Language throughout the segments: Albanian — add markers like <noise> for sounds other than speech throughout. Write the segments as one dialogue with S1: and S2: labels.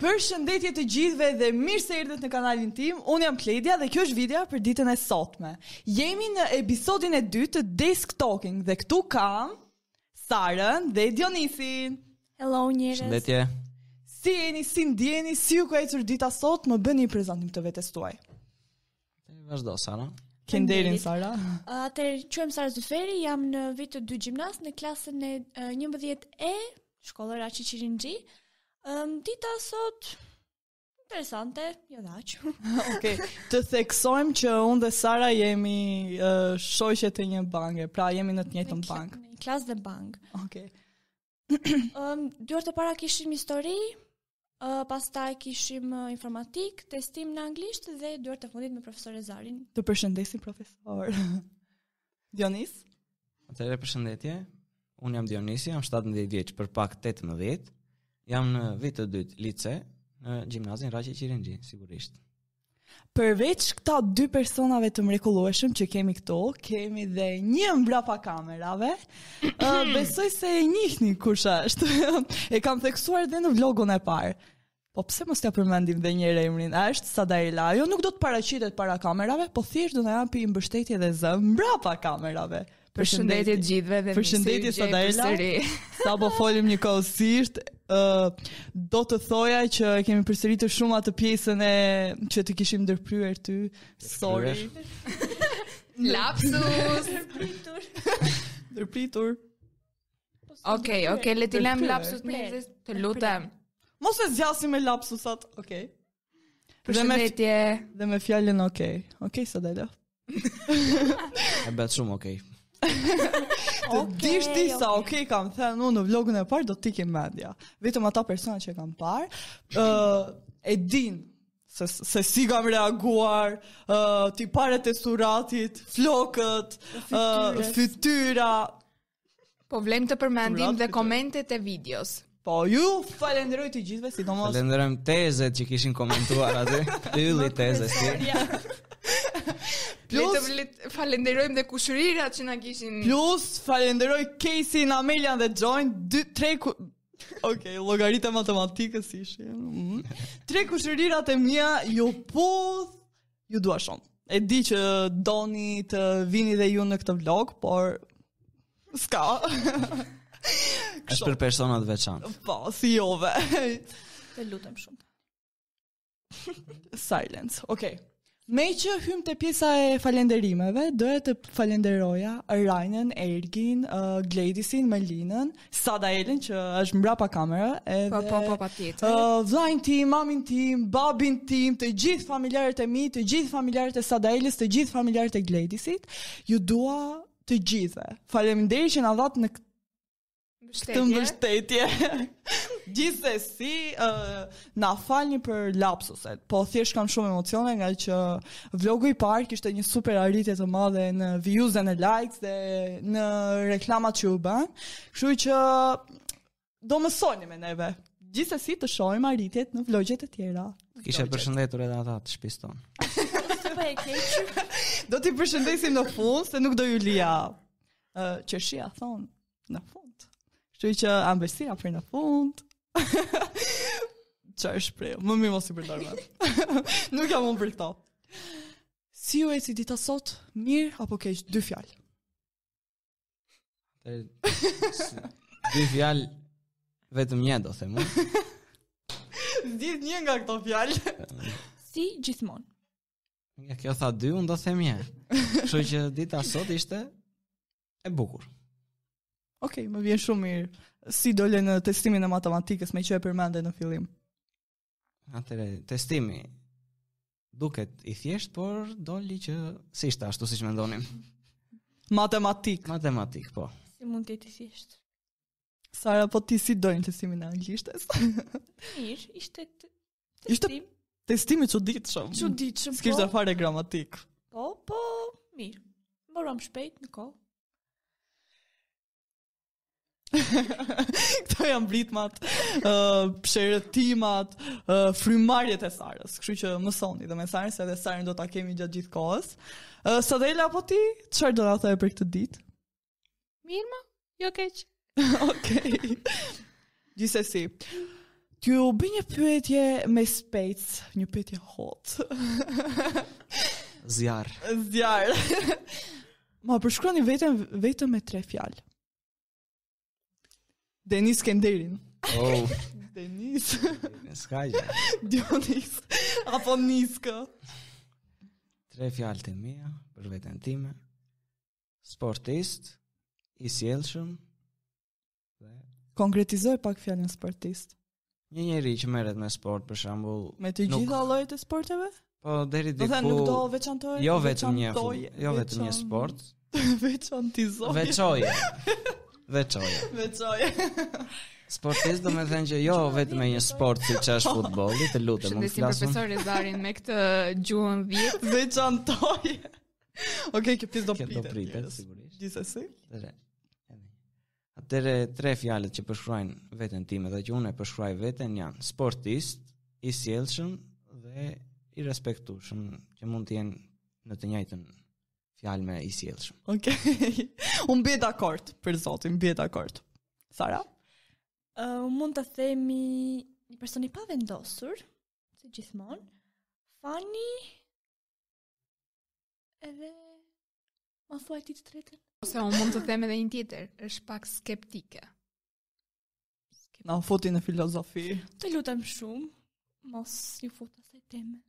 S1: Për shëndetje të gjithve dhe mirë se erdhët në kanalin tim. Unë jam Kledia dhe kjo është video për ditën e sotme. Jemi në episodin e dytë të Desk Talking dhe këtu kam Sarën dhe Dionisin.
S2: Hello njerëz.
S3: Shëndetje.
S1: Si jeni, si ndjeni, si ju ka ecur dita sot, më bëni një prezantim të vetes tuaj.
S3: Vazhdo Sara.
S1: Kënderin Sara.
S2: Uh, Atëherë quhem Sara Zuferi, jam në vit të dy gjimnaz në klasën e uh, 11 E, shkollë Raçi Qirinxhi. Um, dita sot interesante, jo daq.
S1: <laughs> Okej, të theksojmë që unë dhe Sara jemi uh, shoqet e një banke, pra jemi në të njëjtën bankë.
S2: <laughs> Në klasë dhe bank.
S1: Okej.
S2: Um, dy orë të para kishim histori, uh, pastaj kishim uh, informatik, testim në anglisht dhe dy orë të fundit me profesor Ezarin.
S1: Të përshëndesim profesor. <laughs> Dionis?
S3: Atëherë përshëndetje. Unë jam Dionisi, jam 17 vjeç, për pak 18. Jam në vit të dytë lice në gjimnazin Raqi Qirinxhi, sigurisht.
S1: Përveç këta dy personave të mrekullueshëm që kemi këtu, kemi dhe një mbrapa kamerave. Ë, besoj se e njihni kush është. <laughs> e kam theksuar dhe në vlogun e parë. Po pse mos ja përmendim dhe një herë emrin? A është Sadaila? Jo, nuk do të paraqitet para kamerave, po thjesht do na japi mbështetje dhe zë mbrapa kamerave.
S4: Përshëndetje të gjithëve dhe
S1: Përshëndetje
S4: mirësirëmëngjes
S1: Sadaila.
S4: përsëri.
S1: <laughs> Sa po folim një kohësisht, ë do të thoja që e kemi përsëritur shumë atë pjesën e që të kishim ndërpryer ty. Sorry.
S4: Lapsus.
S2: Pritur.
S1: Ndërpritur.
S4: Okej, okej, le ti lëm
S1: Ndërpryer.
S4: lapsus me
S2: Ndërpryer.
S4: gjithë, të lutem.
S1: Mos e zgjasim me lapsusat. Okej. Dhe me
S4: Përshëndetje.
S1: dhe me fjalën okej. Okej, sa dalo.
S3: E bëhet shumë okay.
S1: Të dish ti sa okej kam thënë unë në vlogun e parë do të ikim mendja. Vetëm ata persona që kam parë, ë e din se se si kam reaguar, ë ti paret e suratit, flokët, ë fytyra.
S4: Po vlem të
S1: Murat,
S4: përmendim dhe
S1: pyetje.
S4: komentet e videos.
S1: Po ju falenderoj të gjithëve, sidomos
S3: Falenderojm tezet që kishin komentuar aty. Ylli teze si.
S4: Le
S1: Plus-
S4: të vlet- falenderojmë dhe kushërirat që na kishin.
S1: Plus, falenderoj Casey-in, Amelian dhe Joyn, dy, tre ku... Okej, llogaritë e matematikës ishin. Mm. Tre kushërirat e mia ju puth, ju dua shumë. E di që doni të vini dhe ju në këtë vlog, por s'ka. <laughs>
S3: Është për persona të veçantë.
S1: po, si jove.
S2: Të lutem <laughs> shumë.
S1: Silence. Okej. Me që hymë të pjesa e falenderimeve, doja të falenderoja Rajnën, Ergin, uh, Gledisin, Melinën, Sadaelin që është mbrapa kamera, edhe
S4: Po, po, po, patjetër.
S1: Uh, vllajin tim, mamin tim, babin tim, të gjithë familjarët e mi, të gjithë familjarët e Sadaelis, të gjithë familjarët e Gledisit, ju dua të gjithëve. Faleminderit që na dhatë në këtë të
S4: Mbështetje.
S1: mbështetje. <laughs> Gjithsesi, uh, na falni për lapsuset, po thjesht kam shumë emocione nga që vlogu i parë kishte një super arritje të madhe në views dhe në likes dhe në reklamat që u bën. Kështu që do mësoni me neve. Gjithsesi të shohim arritjet në vlogjet e tjera.
S3: Kishe përshëndetur edhe ata të shtëpisë tonë.
S2: Po e keq.
S1: Do t'i përshëndesim në fund se nuk do ju lija uh, qershia thon në fund. Kështu që ambësia për në fund. <laughs> Çfarë shpreh? Më mirë mos i përdor më. <laughs> nuk jam unë për këto. Si ju e si dita sot? Mirë apo keq? Dy fjalë.
S3: Atëherë, s- Dy fjalë vetëm një do them unë.
S1: Zgjidh një nga këto fjalë.
S2: Si gjithmonë.
S3: Ja kjo tha dy, unë do them një. Kështu që dita sot ishte e bukur.
S1: <laughs> Okej, më vjen shumë mirë. Si dole në testimin e matematikës me që e përmende në fillim.
S3: Atëre, testimi duket i thjesht, por doli që si ishte ashtu siç mendonim.
S1: Matematik.
S3: Matematik, po.
S2: Si mund të jetë i thjesht?
S1: Sara, po ti si dojnë testimin e anglishtes?
S2: Mirë, ishte të
S1: Ishte
S2: testim,
S1: testimi çuditshëm.
S2: çuditshëm.
S1: S'kishte
S2: po,
S1: fare gramatik. <laughs>
S2: po, po, mirë. Mbaruam shpejt në kohë.
S1: Këto janë britmat, uh, pshërëtimat, uh, frymarrjet e Sarës. Kështu që mësoni dhe me Sarën se edhe Sarën do ta kemi gjatë gjithë kohës. Uh, Sadela po ti, çfarë do na thoje për këtë ditë? <laughs>
S2: Mirë, ma? Jo keq.
S1: Okej. Gjithsesi. Ty u bë një pyetje me spejc, një pyetje hot.
S3: Zjarr.
S1: Zjarr. <laughs> Ma përshkruani vetëm vetëm me tre fjalë. Denis Kenderin.
S3: <laughs> Oh,
S1: Denis
S3: s'ka gjë.
S1: <laughs> Dionis <laughs> apo Niska.
S3: Tre fjalë të mia për veten time. Sportist, i sjellshëm,
S1: Konkretizoj pak fjalën sportist.
S3: një njeri që merret me sport për shembull.
S1: Me të
S3: nuk-
S1: gjitha llojet e sporteve?
S3: Po deri
S1: Do
S3: diku.
S1: thënë nuk do veçantoj.
S3: Jo vetëm një, fut-
S1: veçantoj,
S3: jo vetëm një
S1: veçan-
S3: sport,
S1: <laughs> Veçantizoj.
S3: veçoje.
S1: <laughs>
S3: Veçoje.
S1: Veçoje. <laughs>
S3: Sportist do me thënë që jo vetëm me një sport si që
S1: <laughs>
S3: është futbolli, të lutem, unë
S4: Shëndesim
S3: flasëm.
S4: profesor Rezarin me këtë gjuhën 10.
S1: Veçantoje. Okej, kjo pjesë do
S3: Kjo
S1: pritet.
S3: do pritet,
S1: yes.
S3: sigurisht.
S1: Gjithsesi.
S3: Atëre, edhe. Atëre, tre fjalët që përshkruajnë veten time dhe që unë e përshkruaj veten janë sportist, i sjellshëm dhe i respektueshëm, që mund të jenë në të njëjtën fjalë me i sjellshëm.
S1: Okej. <laughs> Unë bie dakord, për zotin, bie dakord. Sara?
S2: Uh, mund të themi një person i pavendosur, si gjithmonë, fani edhe ma thuaj ti të tretën.
S4: Ose unë mund të them edhe një tjetër, është pak skeptike.
S1: Na u futi në filozofi.
S2: Të lutem shumë, mos ju fut asaj teme.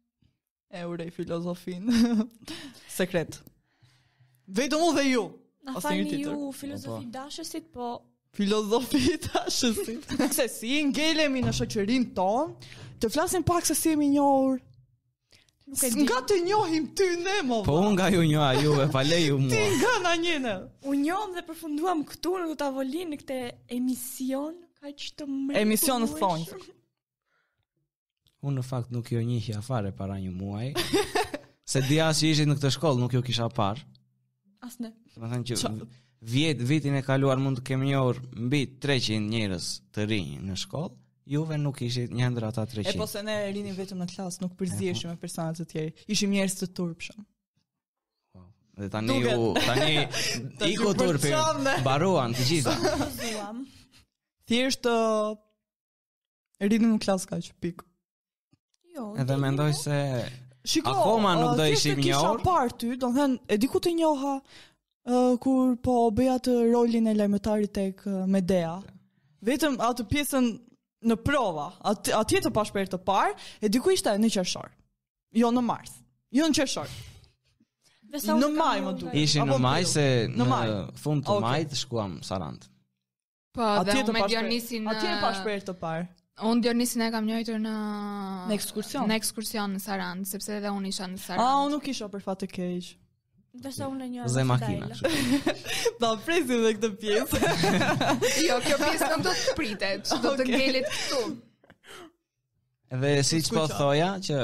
S1: E urej filozofin. <laughs> Sekret. Vetëm unë dhe ju.
S2: Na
S1: Ose një
S2: falni
S1: tjetër.
S2: ju filozofi
S3: Po.
S2: dashësit, po
S1: Filozofi tashësit. <laughs> se si ngelemi në shoqërinë tonë, të flasim pak se si jemi njohur.
S2: nuk e di.
S1: Nga të njohim ty ne, mo.
S3: Po unë nga ju njoha juve, pa leju
S1: Ti
S3: mua.
S1: nga na njëne.
S2: U njohëm dhe përfunduam këtu në tavolinë në këtë emision, kaq të mrekullueshëm.
S1: Emision në thonjë.
S3: Unë në fakt nuk jo njihja fare para një
S1: <laughs>
S3: muaj. Se di as që ishit në këtë shkollë, nuk jo kisha parë.
S2: Asne.
S3: Do të thënë që
S1: Qa-
S3: vjet vitin e kaluar mund të kemi njohur mbi 300 njerëz të rinj në shkollë, juve nuk ishit një ndër ata
S1: E
S3: 300.
S1: po se ne rinim vetëm në klasë, nuk përziheshim me personat të tjerë. Ishim njerëz të turpshëm.
S3: Dhe tani
S1: Duket.
S3: u
S1: <laughs>
S3: tani
S1: Tani
S3: iku
S1: u
S3: turpi.
S1: përçande.
S3: Mbaruan të gjitha.
S2: Zuam.
S1: Thjesht uh, rinim në klasë kaq pik.
S2: Jo.
S3: Edhe
S2: dini,
S3: mendoj se
S1: Shiko,
S3: Akoma nuk
S1: uh,
S3: do
S1: thjesht e
S3: ishim njohur.
S1: Kisha parë ty, do të thënë, e di ku të njoha uh, kur po bëja atë rolin e lajmëtarit tek uh, Medea. Vetëm atë pjesën në prova, atë atje të pash për herë të parë, e diku ishte në qershor. Jo në mars. Jo në qershor.
S2: dhe sa unë
S1: në
S2: kam
S1: maj më
S2: njohur
S1: duket.
S2: ai.
S3: ishin
S1: Apo
S3: në maj
S1: prill.
S3: se
S1: Në
S3: në
S1: maj.
S3: fund të
S1: Okej.
S3: majit shkuam Sarant.
S4: Po,
S1: Atje
S4: dhe
S1: të
S4: unë me
S1: pash për-
S4: Dionisin... uh,
S1: Atje e
S4: ë,
S1: pash për herë të parë.
S4: Unë Dionisin e kam njohur në
S1: Në ekskursion.
S4: Në ekskursion në Sarand, sepse edhe unë isha në
S1: A,
S4: Sarand.
S1: unë nuk isha për fat të keq. <laughs>
S2: Dhe sa unë e njohëm.
S3: Dhe makina. kështu.
S1: Ta presim dhe këtë pjesë.
S4: <laughs> <laughs> Jo, kjo pjesë nuk do të pritet, që do të
S1: Okej.
S4: ngelet këtu.
S3: Edhe siç po
S1: Skuqa.
S3: thoja që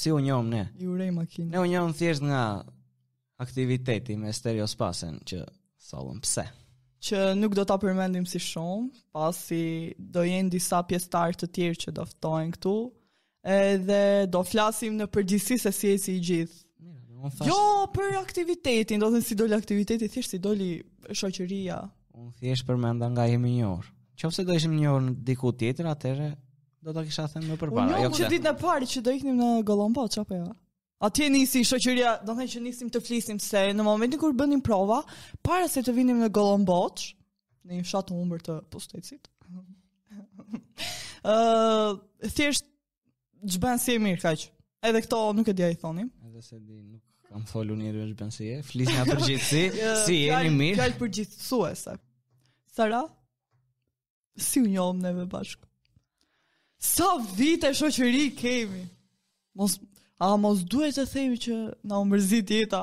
S3: si u njohëm ne.
S1: Ju urej makinë.
S3: Ne u njohëm thjesht nga aktiviteti me stereospasen që sollëm pse.
S1: Që nuk do ta përmendim si shumë, pasi do jenë disa pjesëtar të tjerë që do ftohen këtu, edhe do flasim në përgjithësi se si eci i gjithë.
S3: Mirë, dhe unë
S1: Jo
S3: thash,
S1: për aktivitetin, do të thënë si doli aktiviteti, thjesht si doli shoqëria.
S3: unë thjesht përmenda nga jemi një orë. Qofse do ishim një orë në diku tjetër, atëherë do ta kisha thënë më
S1: Unë
S3: përpara.
S1: jo
S3: Jo,
S1: që
S3: pse.
S1: ditën e parë që do iknim në Gollombo, çfarë po ja. Atje nisi shoqëria, do të thënë që nisim të flisim se në momentin kur bënim prova, para se të vinim në Gollomboç, në një fshat të humbër të pushtetit. <laughs> Ë, thjesht ç'bën si e mirë kaq. Edhe këto nuk e di ai thonim.
S3: Edhe se di nuk kam folur një rrugë ben si e, flis
S1: <laughs>
S3: nga përgjithësi, si jeni
S1: Fjalë-
S3: mirë.
S1: Fjalë përgjithësuese. Sara, si u njohëm neve bashkë? Sa vite shoqëri kemi? Mos A mos duhet të themi që na u mërzit jeta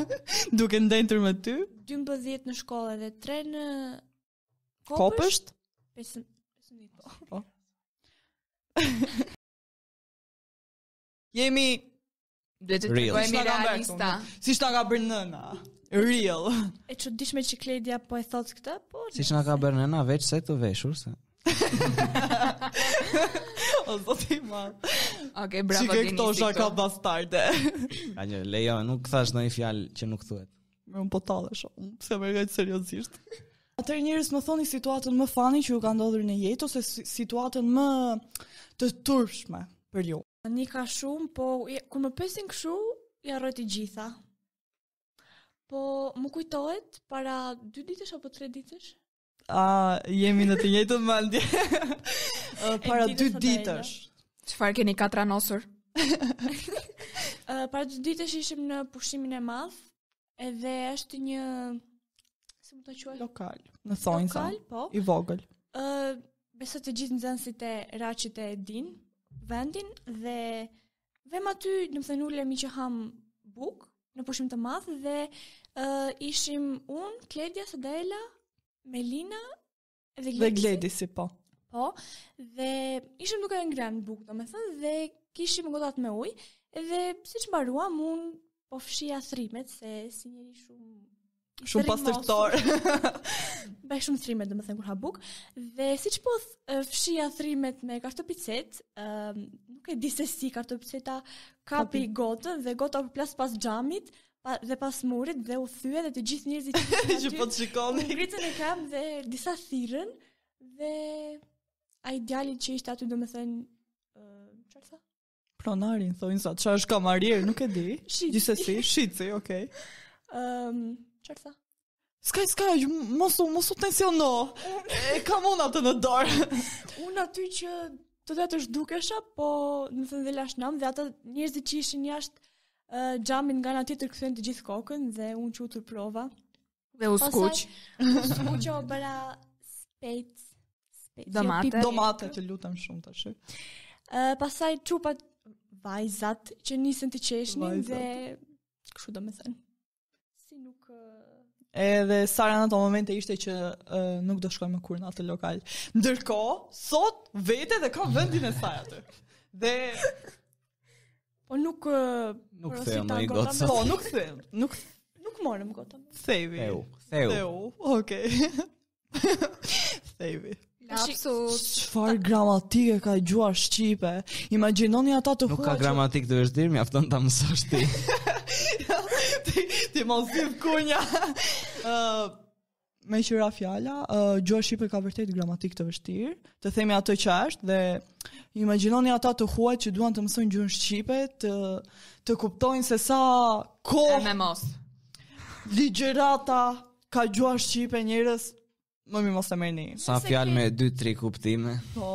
S1: <laughs> duke ndenjtur me ty?
S2: 12 në shkollë dhe 3 në
S1: Po,
S2: kopësht.
S1: Kopësht?
S2: 15 15 po.
S1: Jemi
S4: Duhet të
S3: Real.
S4: bëhemi
S1: S'na kam bërë
S4: realista.
S1: si shta ka bërë nëna. Real. <laughs>
S2: E çuditshme që Kledia po e thot këtë, po.
S3: Siç na ka bërë nëna veç se të veshur se.
S1: o zoti i madh.
S4: Okej, bravo
S1: Çike
S4: Denisi.
S1: këto shaka bastarde.
S3: Ka gjë, lejo, nuk thash ndonjë fjalë që nuk thuhet.
S1: Më po tallesh, unë pse më ngaj seriozisht. <laughs> Atëherë njerëz më thoni situatën më fani që ju ka ndodhur në jetë ose si- situatën më të turshme për ju.
S2: Një ka shumë, po i- kur më pesin këshu, ja rroj të gjitha. Po më kujtohet para 2 ditësh apo 3 ditësh?
S1: A jemi në të njëjtën <laughs> mendje. Ë, para
S2: ditës
S1: dy
S2: sot e
S1: ditësh.
S4: Çfarë keni katranosur?
S2: Uh, para 2 ditësh ishim në pushimin e madh, edhe është një si më të quaj?
S1: Lokal, në thonjë sa.
S2: Lokal, po.
S1: I vogël.
S2: Ë, besoj të gjithë nxënësit e Raçit e din vendin dhe vem aty, do të thënë ulemi që ham buk në pushim të madh dhe ë ishim un, Kledia, Sadela, Melina dhe
S1: Dhe gledi si po.
S2: Po, dhe ishim duke ngrënë buk, do me thënë, dhe kishim gotat me ujë, dhe si që mbaruam, un po fshia thrimet, se si njeri shumë... i
S1: Shumë
S2: thrimosur.
S1: pastërtor.
S2: Bëj shumë thrimet, do me thënë, kur ha buk, dhe si që po th- fshia thrimet me kartopicet, ëm, nuk e di se si kartopiceta kapi gotën, dhe gota u plas pas xhamit, pa, dhe pas murit, dhe u thye, dhe të
S1: <laughs>
S2: gjithë njerëzit që ishin
S1: <laughs> Që
S2: aty-
S1: po të
S2: Unë
S1: shikoni.
S2: ngritën e kam dhe disa thirrën dhe ai djali që ishte aty domethënë ë, çfarë tha?
S1: Pronarin thonjë sa, çfarë është kamarier, nuk e di.
S2: Shit.
S1: <laughs> Gjithsesi, shitsi, okay.
S2: Ëm, Ehm, çfarë tha?
S1: Ska, ska, ju- mos u mos u tensiono. E kam unë atë në dorë.
S2: Unë aty që të të të zhdukesha, po në thënë dhe lashnam, dhe ata njerëzit që ishin jashtë uh, gjamin nga nga tjetër këthejnë të gjithë kokën dhe unë që u tërprova.
S4: Dhe u
S2: Pastaj-
S4: skuq.
S2: U që o bëra spejt, spejt jo,
S4: Domate.
S1: Domate të lutem shumë tash.
S2: Uh, pasaj qupat vajzat që nisën të qeshnin
S1: Vajzat.
S2: dhe kështu do me thënë. Si nuk... ë,
S1: Edhe Sara në ato momente ishte që uh, nuk do shkoj më kur në atë lokal. Ndërkohë, sot vete dhe ka vendin e saj aty. Dhe
S2: Po nuk ë,
S3: Nuk
S2: Por,
S3: theu
S2: si
S3: më i
S2: tango,
S3: gotë
S2: tango.
S3: sa
S1: po, nuk them, nuk
S2: nuk morëm gotën.
S1: themi.
S3: theu. Theu.
S1: Theu. Okej. <laughs> Themi.
S4: Lapsus.
S1: Çfarë gramatike ka gjuar shqipe? Imagjinoni ata të
S3: Nuk ka
S1: që-
S3: gramatik të vështirë, mjafton ta mësosh ti.
S1: ti, ti mos si kunja. <laughs> Ë me qira fjala, uh, gjua shqipe ka vërtet gramatik të vështirë. Të themi atë që është dhe imagjinoni ata të huaj që duan të mësojnë gjuhën shqipe, të të kuptojnë se sa kohë
S4: Me mos.
S1: ligjërata ka gjua shqipe njerëz më mi mos e merrni.
S3: Sa
S2: Nëse
S3: fjalë
S2: ke-
S3: me 2-3 kuptime.
S1: <laughs> Po.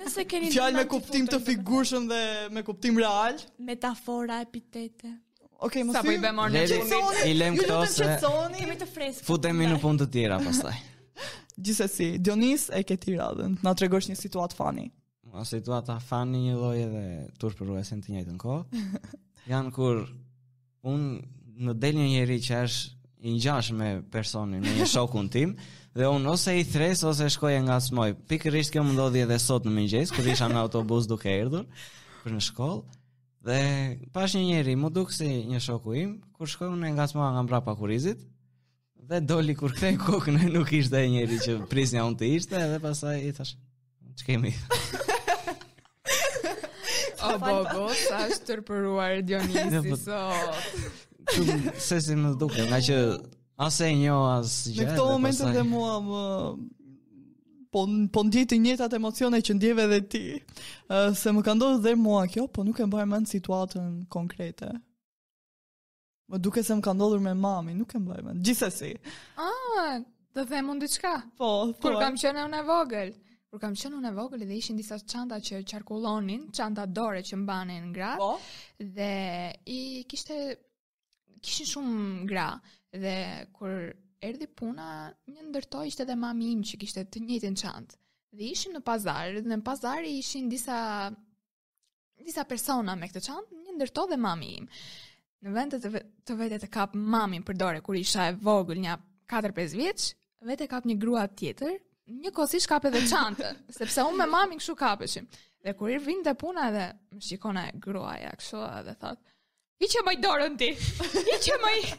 S2: Nëse keni
S1: Fjalë me
S2: ndonjë
S1: kuptim të
S2: futën,
S1: figurshëm dhe me kuptim real.
S2: domethënë, metafora, epitete.
S1: Okej, mos
S4: Sa po i bëmor në
S3: Levi-
S4: gjunit.
S1: qetësoni.
S3: I lem
S1: Ju
S3: këto
S1: lutem
S3: se-
S1: qetësoni.
S2: Kemi të freskët.
S3: Futemi në punë të tjera pastaj.
S1: Gjithsesi, Dionis e ke ti radhën. Na tregosh një situatë fani.
S3: Mua situata fani një lloj edhe turpëruese në të njëjtën kohë. Janë kur unë në del një njeri që është i ngjashëm me personin, me një shokun tim, dhe unë ose i thres ose shkoj e ngacmoj. Pikërisht kjo më ndodhi edhe sot në mëngjes kur isha në autobus duke erdhur për në shkollë. Dhe pash një njeri, mu duk si një shoku im, kur shkoj unë e ngacmova nga mbrapa kurizit, dhe doli kur kthej kokën e nuk ishte ai njeri që prisnja unë të ishte, edhe pastaj i thash, ç'kemi?
S4: O bo bo, sa është tërpëruar Dionisi sot.
S3: Kështu, se si më duke, nga që as e njo, as gjë.
S1: Në këto
S3: dhe
S1: momente
S3: pastaj-
S1: dhe mua më po po ndjej të njëjtat emocione që ndjeve edhe ti. Ë, se më ka ndodhur dhe mua kjo, po nuk e mbaj mend situatën konkrete. Më duket se më ka ndodhur me mami, nuk e mbaj mend. Gjithsesi.
S4: Ah, do them unë diçka.
S1: Po,
S4: Kur
S1: thuaj.
S4: kam qenë unë e vogël. Kur kam qenë unë e vogël dhe ishin disa çanta që qarkullonin, çanta dore që mbanin gratë
S1: po.
S4: dhe i kishte kishin shumë gra dhe kur erdhi puna, një ndërtoj ishte edhe mami im që kishte të njëjtin çantë. Dhe ishim në pazar, dhe në pazar ishin disa disa persona me këtë çantë, një ndërtoj dhe mami im. Në vend të të, ve- të vete të kap mamin për dorë kur isha e vogël, një 4-5 vjeç, vete kap një grua tjetër, një kosisht kap edhe çantën, sepse unë me mamin kështu kapeshim. Dhe kur i vinte puna edhe më shikon e gruaja kështu edhe thot, "Hiqe më dorën ti. Hiqe më." i-"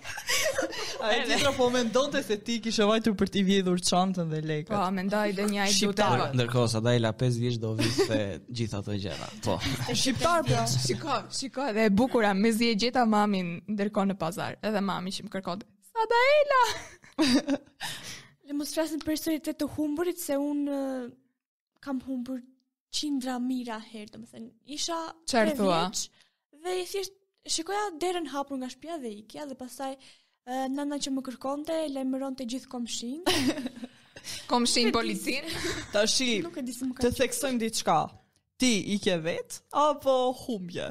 S1: A e tjetra po mendonte se ti kishe vajtur për t'i vjedhur çantën dhe
S4: Po,
S1: lekët.
S4: mendoj dhe një ai duhet
S1: Shqiptar.
S4: të
S3: Ndërkohë sa Daila 5 vjeç do viste gjithë ato gjëra. Po. <laughs>
S1: Shqiptar pra.
S4: Shiko, shiko, edhe e bukura, me zi e gjeta mamin ndërkohë në pazar, edhe mami që më kërkon, Sadaela!
S2: Le Dhe mos flasim për historitë të humburit se un ë, kam humbur qindra mira herë, domethënë isha
S4: Çfarë
S2: tre
S4: thua?
S2: vjeç Dhe thjesht shikoja derën hapur nga shtëpia dhe ikja dhe pastaj ë, nana që më kërkonte lajmëronte gjithë komshin.
S4: Komshin policin.
S1: Tashi,
S2: <laughs> Nuk e di si më ka.
S1: të theksojmë diçka. Ti i ke vet apo humbje?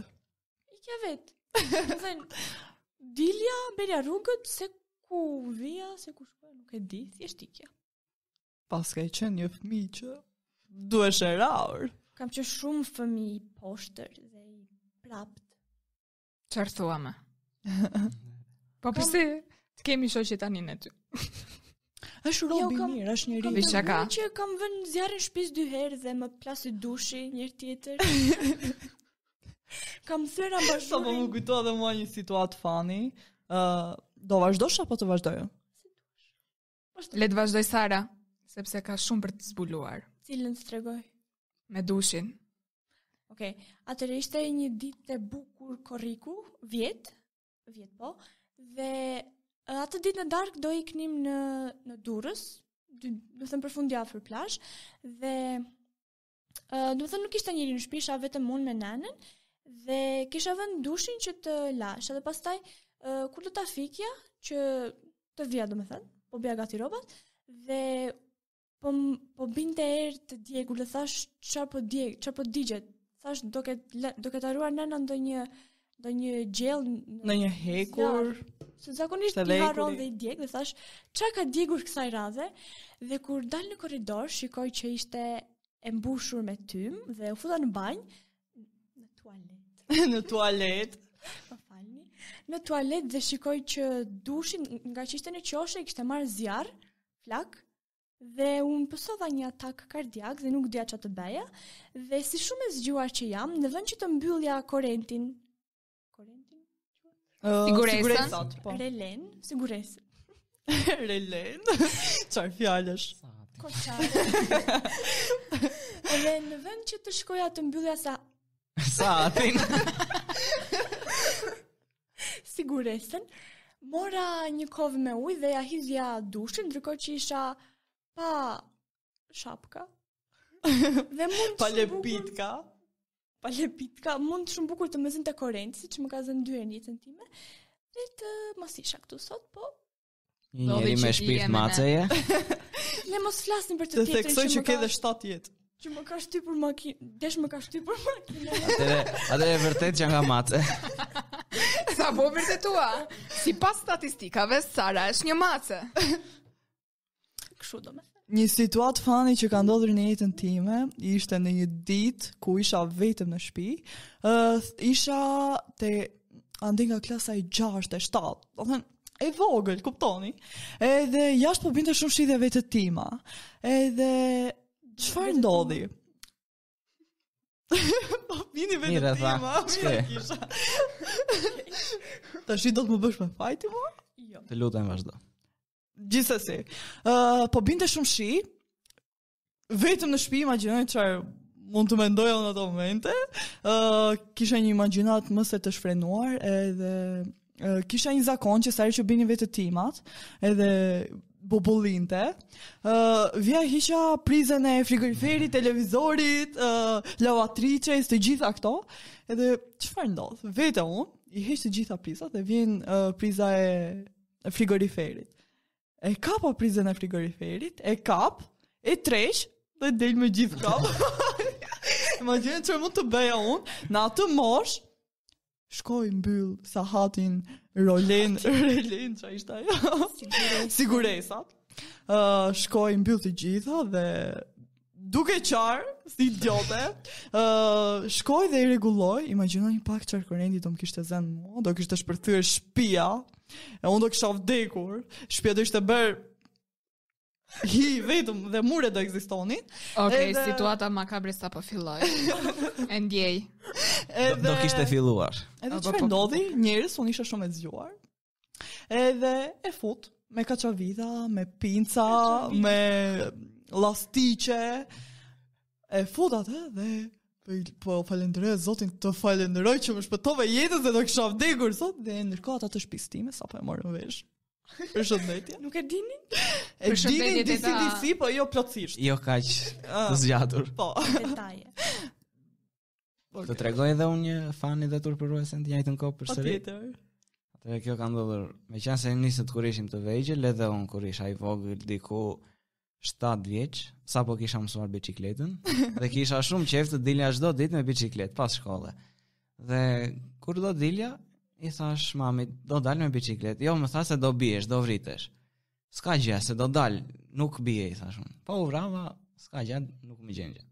S2: Ikja vet. Domethënë dilja, berja rrugët se ku vija, se ku shkoja, nuk e di, thjesht ikja.
S1: Pas ka qenë një fëmijë që duhesh e raur.
S2: Kam që shumë fëmijë i poshtër dhe i prapt.
S4: Çfarë thua më? <laughs> Po pse të kemi shoqë tani në ty?
S1: Është robi
S2: kam-
S1: mirë, është
S2: Kam
S1: njëri.
S4: Bëj
S2: të
S4: shaka.
S2: vënë që kam vënë zjarrin shtëpis dy herë dhe më plasi dushi njërë tjetër. kam thyer
S1: Sa po më
S2: ambazhurin.
S1: kujtoa dhe mua një situatë fani. Ë, do vazhdosh apo të vazhdoj?
S4: Le të vazhdoj Sara, sepse ka shumë për të zbuluar
S2: Cilën të tregoj?
S4: me dushin.
S2: Okej, atëherë ishte një ditë e bukur korriku, vjet, vjet po, dhe e, atë ditë në darkë do iknim në në Durrës, dy- do të thënë për fundjavë për plazh dhe ë do të thënë nuk ishte njëri në shtëpi, isha vetëm unë me nanën dhe kisha vënë dushin që të lash, edhe pastaj ë, kur do ta fikja që të vija domethënë, po bëja gati rrobat dhe po m- po binte erë të djegur dhe thash çfarë po djeg, çfarë po digjet. Thash do ket la- do ket haruar nëna ndonjë ndonjë gjell
S1: Në një hekur.
S2: Se zakonisht
S1: Ishte
S2: i
S1: dhe
S2: harron
S1: ekuri.
S2: dhe i djeg dhe thash çka ka djegur kësaj radhe dhe kur dal në korridor shikoj që ishte e mbushur me tym dhe u futa në banjë në tualet.
S1: në tualet.
S2: Më falni. Në tualet dhe shikoj që dushin nga që ishte në qoshe kishte marrë zjarr, flak dhe unë pësova një atak kardiak dhe nuk dija ç'a të bëja dhe si shumë e zgjuar që jam, në vend që të mbyllja korentin, korentin,
S1: Ë,
S4: Siguresën.
S1: siguresat, po. <laughs>
S2: relen, sigurisht
S1: Relen. Çfarë fjalësh?
S2: Koçare. Edhe në vend që të shkoja të mbyllja sa
S3: Sa atin?
S2: siguresën, mora një kovë me ujë dhe ja hidhja dushin, ndërkohë që isha pa shapka. dhe mund
S1: Pa
S2: shumë bukur-
S1: lepitka.
S2: pa lepitka, mund shumë bukur të mëzin të korrenci, që më ka zënë dy herë në jetën time. Dhe të mos isha këtu sot, po
S3: Një
S4: Ndodhi
S3: njeri
S4: që
S3: me
S4: ti je
S3: shpirt
S4: me ne.
S3: maceje.
S2: le mos flasim për të
S1: Të
S2: tjetrin
S1: theksoj që
S2: më
S1: ke
S2: ka-
S1: edhe 7 jetë.
S2: që më ka shtypur makinë, desh më ka shtypur makinë.
S3: Atëre, atëre vërtet që nga mace.
S4: Sa po vërtetua? Sipas statistikave Sara është një mace.
S2: Kështu domethënë.
S1: Një situatë fani që ka ndodhur në jetën time, ishte në një ditë ku isha vetëm në shtëpi. Ë isha te ande nga klasa e 6 e 7. Do thënë e vogël, kuptoni? Edhe jashtë po binte shumë shitje vetë tima. Edhe çfarë ndodhi? <laughs> po bini vetë
S3: Mira tha,
S1: tima. Mira
S3: "Ç'ke?"
S1: kisha. <laughs> Tash do të më bësh me fajti mua?
S2: Jo.
S3: Të lutem vazhdo.
S1: Gjithsesi. Ë po binte shumë shi. Vetëm në shtëpi imagjinoj çfarë mund të mendoja unë në ato momente. Ë kisha një imagjinat më se të shfrenuar edhe ë, kisha një zakon që sa herë që bini vetë timat, edhe bobollinte. Ë vja hiqa prizën e frigoriferit, televizorit, ë lavatriçes, të gjitha këto. Edhe çfarë ndodh? Vetë unë i heq të gjitha prizat dhe vjen ë, priza e e frigoriferit. E kap o prizën e frigoriferit, e kap, e tresh, dhe del me gjithë kap. Imagjine që mund të bëja unë, në atë mosh, shkoj mbyll sahatin, rolen, <laughs> relen, që ishte ajo, siguresat. Uh, shkoj mbyll të gjitha dhe duke qarë, si idiote, uh, shkoj dhe i regulloj, imagjinoj një pak qarë korendi do më kishte zenë mua, do kishte shpërthyer shpia, e unë do kisha vdekur, shpia do ishte bërë hi vetëm dhe mure do ekzistonin.
S4: Okej,
S1: Edhe-
S4: situata makabre sa po filloi. E ndjej.
S3: Do,
S1: Edhe
S3: do kishte filluar.
S1: Edhe
S4: Apo,
S1: çfarë
S4: po,
S1: ndodhi? Njerëz unë isha shumë e zgjuar. Edhe e fut me kaçavida, me pinca, me llastiqe. E fut atë dhe po i- po falenderoj Zotin, të
S4: <laughs>
S1: falenderoj që më shpëtove jetën se do kisha vdekur sot dhe ndërkohë ata të shtëpisë time sapo e po morën vesh. Përshëndetje.
S2: Nuk e dini?
S1: E dini
S4: Përshëndetje,
S1: disi
S4: teta.
S1: disi, po jo plotësisht.
S3: Jo kaq
S1: Ah,
S3: të zgjatur.
S1: Po.
S2: Detaje.
S3: Do tregoj edhe unë një fani dhe turpëruesen të njëjtën kohë
S1: Po
S3: përsëri.
S1: Patjetër.
S3: Atëherë kjo ka ndodhur. Meqense se nisët kur ishim të vegjël, edhe unë kur isha i vogël diku 7 vjeç, sapo kisha mësuar biçikletën dhe kisha shumë qejf të dilja çdo ditë me biçikletë pas shkolle. Dhe kur do dilja, i thash mamit, do dal me biçikletë. Jo, më tha se do biesh, do vritesh. S'ka gjë, se do dal, nuk bie, i thash unë. Po u vrava, s'ka gjë, nuk më gjen gjë.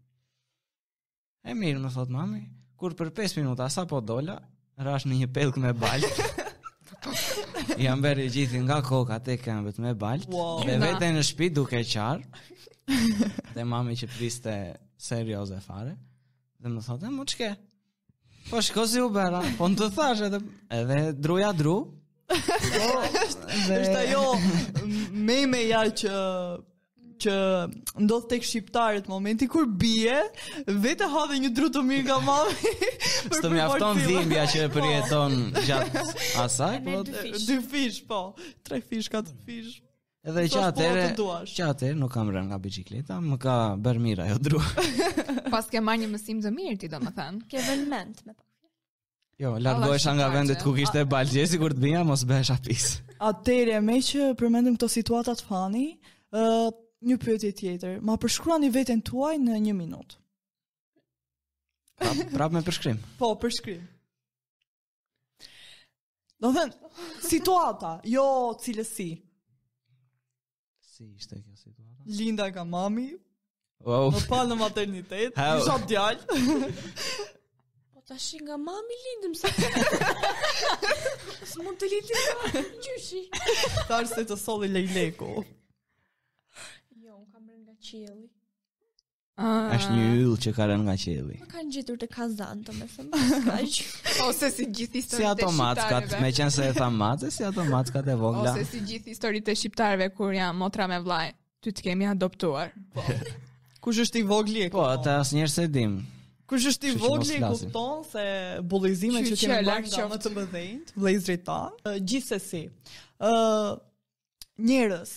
S3: E mirë, më thot mami, kur për 5 minuta sapo dola, rash në një pellk me balë. Jam bërë i gjithi nga koka te këmbët me balt
S1: Wow.
S3: Dhe
S4: Nga.
S3: vete në shtëpi duke qarë Dhe mami që priste serioze fare Dhe më thotë, "E, mu çke Po shko si u bera Po në të thash edhe Edhe druja dru
S1: Është ajo m- memeja jo, që që ndodh tek shqiptarët momenti kur bie, vetë ha dhe një dru të mirë nga <laughs> mami. për Po.
S3: Së të mjafton
S1: përparësime.
S3: dhimbja që e përjeton gjatë asaj po,
S2: dy
S1: Po,
S2: fish.
S1: Dy fish, po. Tre fish, katër fish.
S3: Edhe që
S1: Thosh, po,
S3: atëre
S1: të duash.
S3: Që atëre nuk kam rënë nga bicikleta Më ka bërë mira ajo dru <laughs>
S4: Pas ke marrë një mësim të mirë ti domethënë.
S2: Ke vënë mend me pak.
S3: Jo, largohesha nga vendet ku kishte balë Gjesi kur të bia mos bëhesha pisë
S1: Atëre, me që përmendëm këto situata të fani, ë një pyetje tjetër. Ma përshkruani veten tuaj në një minutë.
S3: Prap, <laughs> prap me përshkrim.
S1: Po, përshkrim. Do thënë, situata, jo cilësi.
S3: Si ishte kjo situata?
S1: Linda nga mami,
S3: Wow.
S1: më pa në maternitet,
S3: Au.
S1: isha djalë.
S2: Po tash nga mami lindëm sa. S'mund të lindim nga gjyshi.
S1: Tharë se të solli lejleku.
S2: Jo, unë kam rënë nga qielli.
S4: Ah.
S3: Është një yll që ka rënë nga qielli.
S2: Më Po kanë gjetur të kazan, <laughs> domethënë. s'ka gjë.
S4: Ose si gjithë
S3: Si
S4: historitë
S3: ato
S4: e
S3: mackat,
S4: shqiptarëve.
S3: me qenë se e tha mace, si ato mackat e vogla.
S4: Ose si gjithë historitë e shqiptarëve kur janë motra me vllaj, ty të kemi adoptuar.
S1: Kush është i vogli e
S3: Po,
S1: kupton.
S3: ata asnjëherë se dim.
S1: Kush është i
S3: Kështu që mos
S1: vogli e
S3: flasim.
S1: kupton se bullëzimet
S4: Që
S1: që
S4: që
S1: kemi
S4: e
S1: bërë
S4: lartë
S1: nga më
S4: qoftë.
S1: të mëdhenjt, vëllezërit tan, ë, gjithsesi. ë njerëz,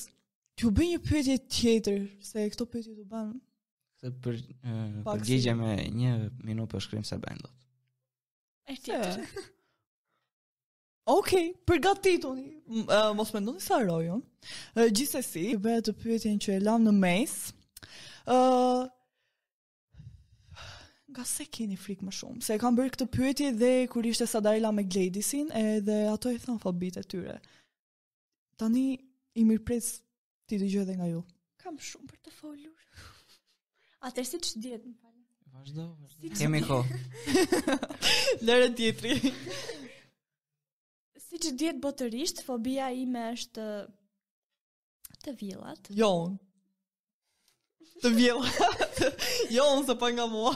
S1: t'ju bëj një pyetje tjetër se këto pyetje do bën.
S3: Se për e,
S1: Pak
S3: përgjigje me një minutë për shkrim se bën dot.
S2: E tjetër.
S1: Okej, përgatituni. M- ë, Mos mendoni se haroj unë. Ë, Gjithsesi, bëhet të pyetjen që e lam në mes. ë Nga se keni frikë më shumë? Se e kam bërë këtë pyetje dhe kur ishte Sadarila me Gledisin, edhe ato i thon fobit e tyre. Tani i mirpres ti dëgjoj edhe nga ju.
S2: Kam shumë për të folur. Atëherë si ç'dihet, më fal.
S3: Vazhdo. Kemi kohë.
S1: Lëre tjetri.
S2: Si që djetë botërisht, fobia ime është të vjellat.
S1: jo. unë. Të vjella. <laughs> jo, unë se pa nga mua.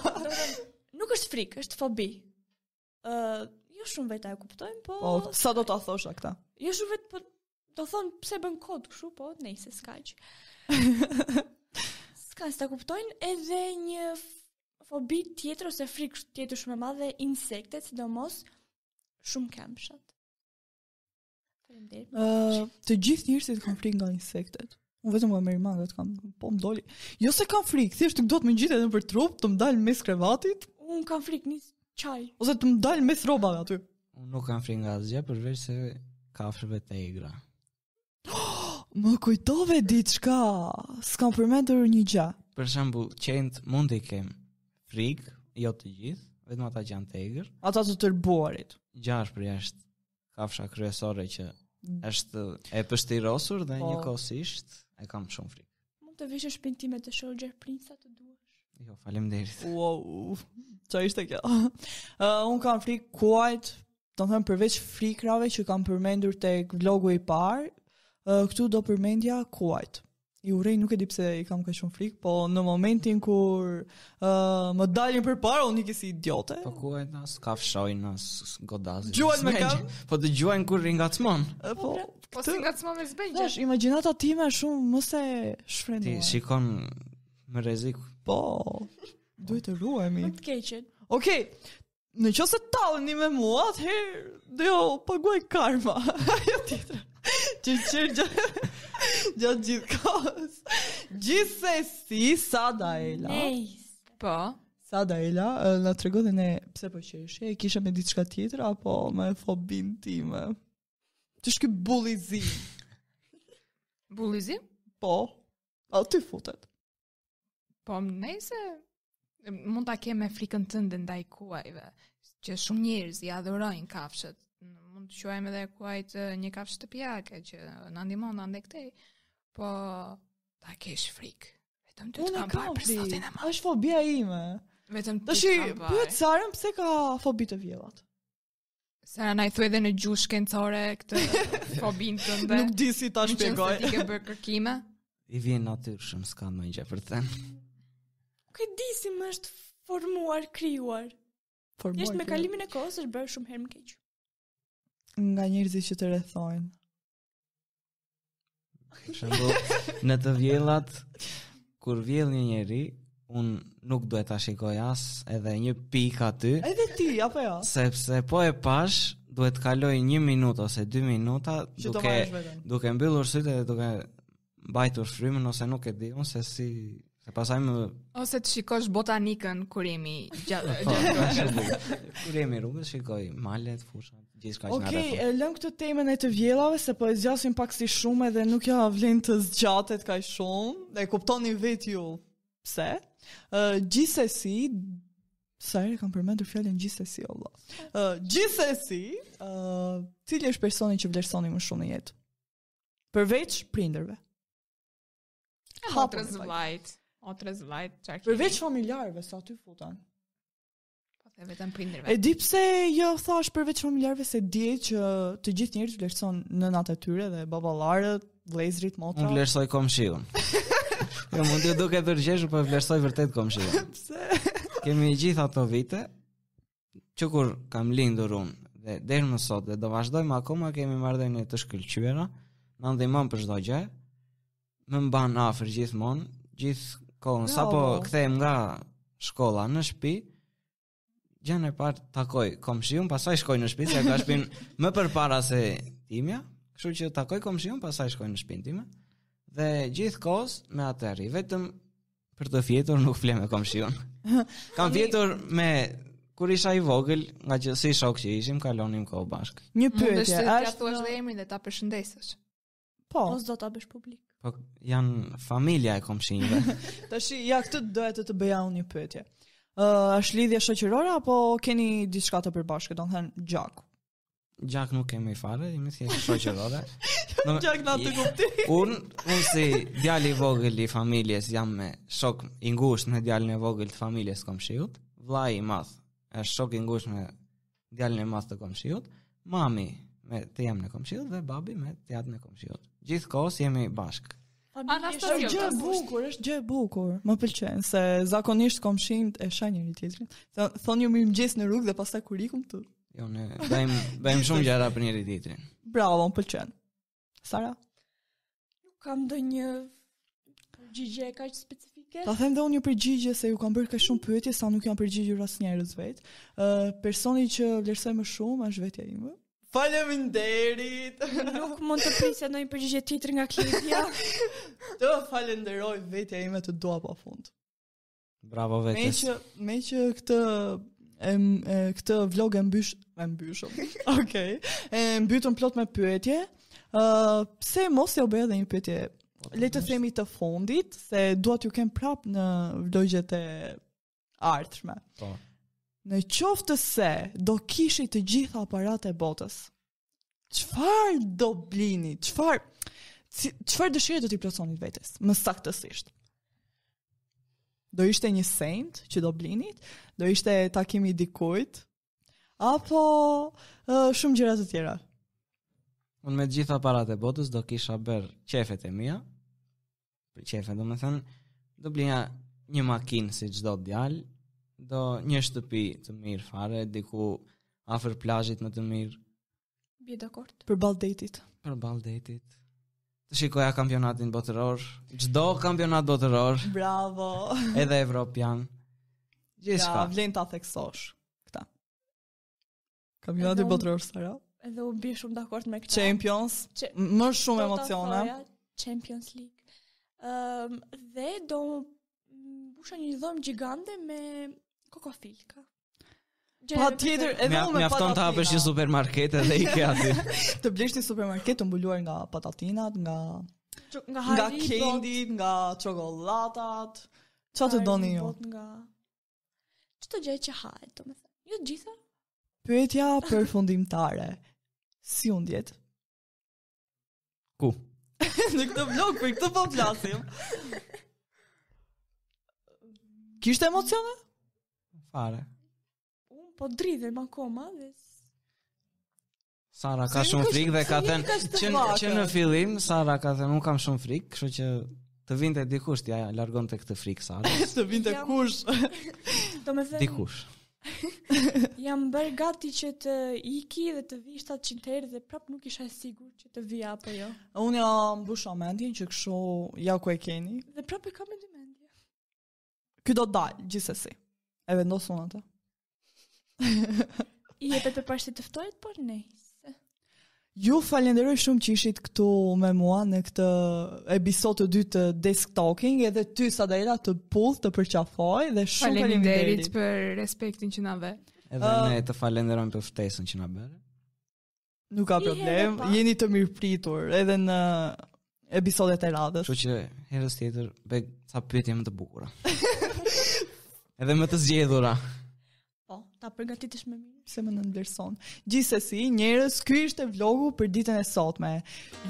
S2: Nuk është frikë, është fobi. Uh, jo shumë vetë e kuptojmë, po...
S1: Po, sa do ta thosha këta?
S2: Jo shumë vetë, po... Do thonë pse bën kod këshu, po, nejse, s'ka që. s'ka se ta kuptojnë edhe një f- fobi tjetër ose frikë sh- tjetër shumë e madhe, insektet, sidomos shumë kemshat. Faleminderit.
S1: Ë, të gjithë njerëzit kanë frikë nga insektet. Unë vetëm nga merimangat kam, po më doli. Jo se kam frikë, thjesht nuk do të më ngjitet nëpër trup, të më dal mes krevatit
S2: Unë kam frikë një qaj.
S1: ose të më dal mes rrobave aty.
S3: Unë nuk kam frikë nga asgjë përveç se kafshëve të egra.
S1: Më kujtove diçka. S'kam përmendur një gjë.
S3: Për shembull, qent mund të kem frikë, jo të gjithë, vetëm ata që janë të egër.
S1: Ata të tërbuarit.
S3: Gjash për jashtë kafsha kryesore që është e pështirosur dhe
S1: Po.
S3: njëkohësisht e kam shumë frikë.
S2: Mund të vishë shtëpinë time të shoqë princa të duash.
S3: Jo, faleminderit.
S1: Wow. Qa ishte kjo? <laughs> Uh, unë kam frikë kuajt, do të them përveç frikrave që kam përmendur tek vlogu i parë, uh, këtu do përmendja kuajt. I urej nuk e di pse i kam kaq shumë frikë, po në momentin kur uh, më dalin përpara unë ikë si idiote.
S3: Po ku e nas kafshojnë nas godazin.
S1: Gjuajnë me
S3: s'bëgje.
S1: kam?
S3: Po të gjuajnë kur ringacmon.
S1: Uh, po,
S4: Po
S1: këtë,
S4: si ngacmo me zbenjë.
S1: thash, imagjinata time është shumë më se
S3: Ti
S1: shfrenuar.
S3: shikon me rrezik.
S1: Po. Duhet të ruhemi.
S2: Më të keqen.
S1: Okej, në qoftë <laughs> se talleni me mua, atëherë do jo paguaj karma. Ajo tjetër. Qërqër gjatë <laughs> gjatë gjithë kohës. Gjithsesi Sada Ela.
S2: Nice.
S4: Po.
S1: Sada Ela ë, na tregoi dhe ne pse po qeshje, e kishe me diçka tjetër apo me fobin time. Ti shky bullizi.
S4: Bullizi?
S1: Po. A ty futet.
S4: Po, nejse mund ta kem me frikën tënde ndaj kuajve, që shumë njerëz i adhurojnë kafshët. Mund të quajmë edhe kuajt eh, një kafshë shtëpiake që na ndihmon ande këtej, po ta kesh frikë. Vetëm ty të kam parë për
S1: frikë.
S4: zotin e madh.
S1: Është fobia ime.
S4: Vetëm ty
S1: Tash
S4: të kam
S1: pyet
S4: parë.
S1: Sarën pse ka fobi të vjellat.
S4: Sara na i thuaj edhe në gjuhë shkencore
S1: <laughs>
S4: këtë fobin tënde.
S1: Nuk di si ta
S4: Në qenë se
S1: shpjegoj.
S4: Ti ke bërë kërkime?
S3: I vjen natyrshëm, s'ka më gjë për të thënë.
S2: Nuk e di si më është formuar, krijuar.
S1: Formuar
S2: Thjesht me
S1: kjo.
S2: kalimin e kohës është bërë shumë herë më keq.
S1: nga njerëzit që të rrethojnë.
S3: Për shembull, në të vjellat kur vjell një njeri, un nuk duhet ta shikoj as edhe një pikë aty,
S1: Edhe ti apo jo?
S3: sepse po e pash duhet të kaloj 1 minutë ose 2 minuta
S1: Që të
S3: duke
S1: marrësh veten.
S3: duke mbyllur sytë dhe duke mbajtur frymën ose nuk e di unë se si se pasaj
S1: <laughs>
S3: më
S4: Ose të shikosh botanikën kur jemi gjatë
S3: po,
S1: <laughs>
S3: kur jemi rrugës shikoj malet, fushat, gjithçka që na
S1: Okej,
S3: rrethon.
S1: e lëm këtë temën e të vjellave se po e zgjasim pak si shumë edhe nuk ja vlen të zgjatet kaq shumë. E kuptoni vetë ju pse. Ë gjithsesi sa herë kam përmendur fjalën gjithsesi olla. Ë gjithsesi, ë cili është personi që vlerësoni më shumë në jetë? Përveç prindërve.
S4: Otrës
S1: Hapuni po, pak.
S4: vllajt. Otrës vllajt, çfarë? kemi?
S1: Përveç familjarëve sa aty futan.
S4: Po, the vetëm prindërve.
S1: E di pse jo thash përveç familjarëve se di që të gjithë njerëzit vlerëson nënat e tyre dhe baballarët, vëllezrit,
S3: Unë
S1: motra.
S3: vlerësoj komshiun. jo, mund të duke tërgjesh, po e vlerësoj vërtet komshiun.
S1: Pse?
S3: Kemi gjithë ato vite që kur kam lindur unë dhe deri më sot dhe do vazhdojmë akoma kemi marrëdhënie të shkëlqyera, na ndihmon për çdo gjë. Më mban afër gjithmonë, gjithë kohën sapo
S1: Bravo.
S3: kthehem nga shkolla në shtëpi. Gjën e parë takoj komshiun, pastaj shkoj në shtëpi, se ka shtëpinë më përpara se timja, kështu që takoj komshiun, pastaj shkoj në shtëpinë time. Dhe gjithkohës me atëri, vetëm për të fjetur nuk fle me komshiun. Kam fjetur me kur isha i vogël, nga që si shok që ishim, kalonim kohë bashkë.
S1: Një
S4: Mundesh
S1: pyetje,
S4: të t'ja
S1: është
S4: thuash dhe emrin dhe ta përshëndesësh.
S1: po.
S2: Mos do ta bësh publik.
S3: Po janë familja e komshinjve.
S1: Tash ja këtë doja të të bëja unë një pyetje. Ë, është lidhje shoqërore apo keni diçka të përbashkët, do të thënë gjak.
S3: Gjak nuk kemi fare, jemi thjesht shoqërore. Në-
S1: Gjak na të kupti.
S3: <laughs> Un, un si djali i vogël i familjes jam me shok i ngushtë me djalin e vogël të familjes komshiut, vllai i madh është shok i ngushtë me djalin e madh të komshiut, mami me të jam në komshiut dhe babi me të jatë në komshiut. Gjithkohës jemi bashkë.
S4: Anastasio,
S1: Është gjë e
S4: tas-
S1: bukur, është gjë e bukur. Më pëlqen se zakonisht komshinjt e shajnë njëri tjetrin. Thon- Thonë ju mirëmëngjes në rrugë dhe pastaj kur ikum të.
S3: Jo, ne bëjmë bëjmë shumë gjëra për njëri tjetrin.
S1: Bravo, më pëlqen. Sara,
S2: Nuk kam ndonjë përgjigje kaq specifike.
S1: ta them dhe unë një përgjigje se ju kam bërë ka shumë pyetje sa nuk janë përgjigjur as njerëz vetë. Ë, personi që vlerësoj më shumë është vetja ime. Faleminderit.
S2: Nuk mund të prisja ndonjë përgjigje tjetër nga
S1: <laughs>
S2: Kledia.
S1: Të falenderoj vetja ime të dua pa fund.
S3: Bravo
S1: Me
S3: vetes.
S1: që, me që këtë em, e, këtë vlog e mbysh e mbyshëm. <laughs> Okej. E mbytëm plot me pyetje. Ë pse mos ja bëj edhe një pyetje? Le të themi të fundit se dua t'ju kem prap në vlogjet e ardhshme.
S3: Po.
S1: Në qoftë të se do kishit të gjitha aparate e botës, qëfar do blini, qëfar, ci- qëfar dëshire do t'i plotësonit vetes, më saktësisht? Do ishte një send që do blinit, do ishte takimi i dikujt, apo ë, shumë gjëra të tjera.
S3: Unë me të gjitha parat e botës do kisha bërë qefet e mia. Për qefe, do me thënë, do blinja një makinë si çdo djalë, do një shtëpi të mirë fare, diku afër plazhit më të mirë,
S2: Bie dakord.
S1: Për baldetit.
S3: për detit. Të shikoja kampionatin botëror, çdo kampionat botëror,
S1: Bravo.
S3: edhe evropian.
S1: Ja,
S3: Gjithçka.
S1: vlen ta theksosh. Këta. Kamionati
S2: Edhe unë-
S1: botëror Sara.
S2: Edhe u bi shumë dakord me këtë.
S1: Champions,
S2: Që-
S1: më shumë emocione.
S2: Champions League. Ëm dhe do m- busha një dhomë gjigande me kokofilka. Gjë
S1: Pa
S2: e
S1: tjetër,
S2: preferuar.
S1: edhe
S3: Me
S1: unë
S3: me
S1: me
S3: afton të hapësh një
S1: patatina.
S3: supermarket edhe i ke aty.
S1: <laughs> Të blesh një supermarket të mbuluar nga patatinat, nga
S2: Që nga
S1: nga
S2: Haribo.
S1: kendit, nga çokollatat. Çfarë të
S2: Haribo
S1: doni ju?
S2: bot Nga çdo gjë që hahet, domethënë. Jo të gjitha.
S1: Pyetja përfundimtare. Si u <laughs> ndjet?
S3: Ku?
S1: në këtë vlog për këtë po flasim. Kishte emocione?
S3: Fare.
S2: Un po dridhem akoma dhe s-
S3: Sara ka
S1: Se
S3: shumë
S1: nuk
S3: frikë dhe
S1: është-
S3: ka
S1: se nuk
S3: thënë
S1: është
S3: që
S1: vakë.
S3: që në fillim Sara ka thënë unë kam shumë frikë, kështu që të vinte dikush t'ja largonte këtë frikë Sara.
S1: <laughs> Të vinte
S2: Jam-
S1: kush?
S2: domethënë
S3: Dikush.
S2: jam bërë gati që të iki dhe të vi 700 herë dhe prap nuk isha e sigurt që të vi apo jo.
S1: <laughs> Unë jam mbusha mendjen që kështu ja ku e keni.
S2: Dhe prap e kam në mendje.
S1: Ky do dal gjithsesi. E vendos unë atë.
S2: I jepet për parësi të ftohet, por nejse.
S1: Ju falenderoj shumë që ishit këtu me mua në këtë episod të dytë të Desk Talking edhe ty Sadela të puth, të përqafoj dhe shumë
S4: Faleminderit
S1: faleminderit.
S4: për respektin që na dhe.
S3: Edhe
S1: Ëm.
S3: ne të falenderojmë për ftesën që na bëre.
S1: Nuk ka
S2: Një herë
S1: problem,
S2: pa.
S1: jeni të mirë pritur edhe në episodet e radhës.
S3: Kështu që herës tjetër be ca pyetje më të bukura. Edhe më të zgjedhura.
S2: Po, ta përgatitesh më mirë.
S1: se më nënvlerëson. Gjithsesi, njerëz, ky ishte vlogu për ditën e sotme.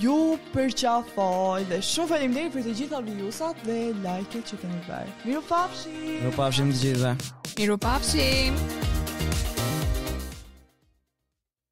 S1: Ju përqafoj dhe shumë faleminderit për të gjitha vjusat dhe like-et që keni bërë. Mirupafshim.
S3: Ju pafshim të gjithëve.
S4: Miru papshim!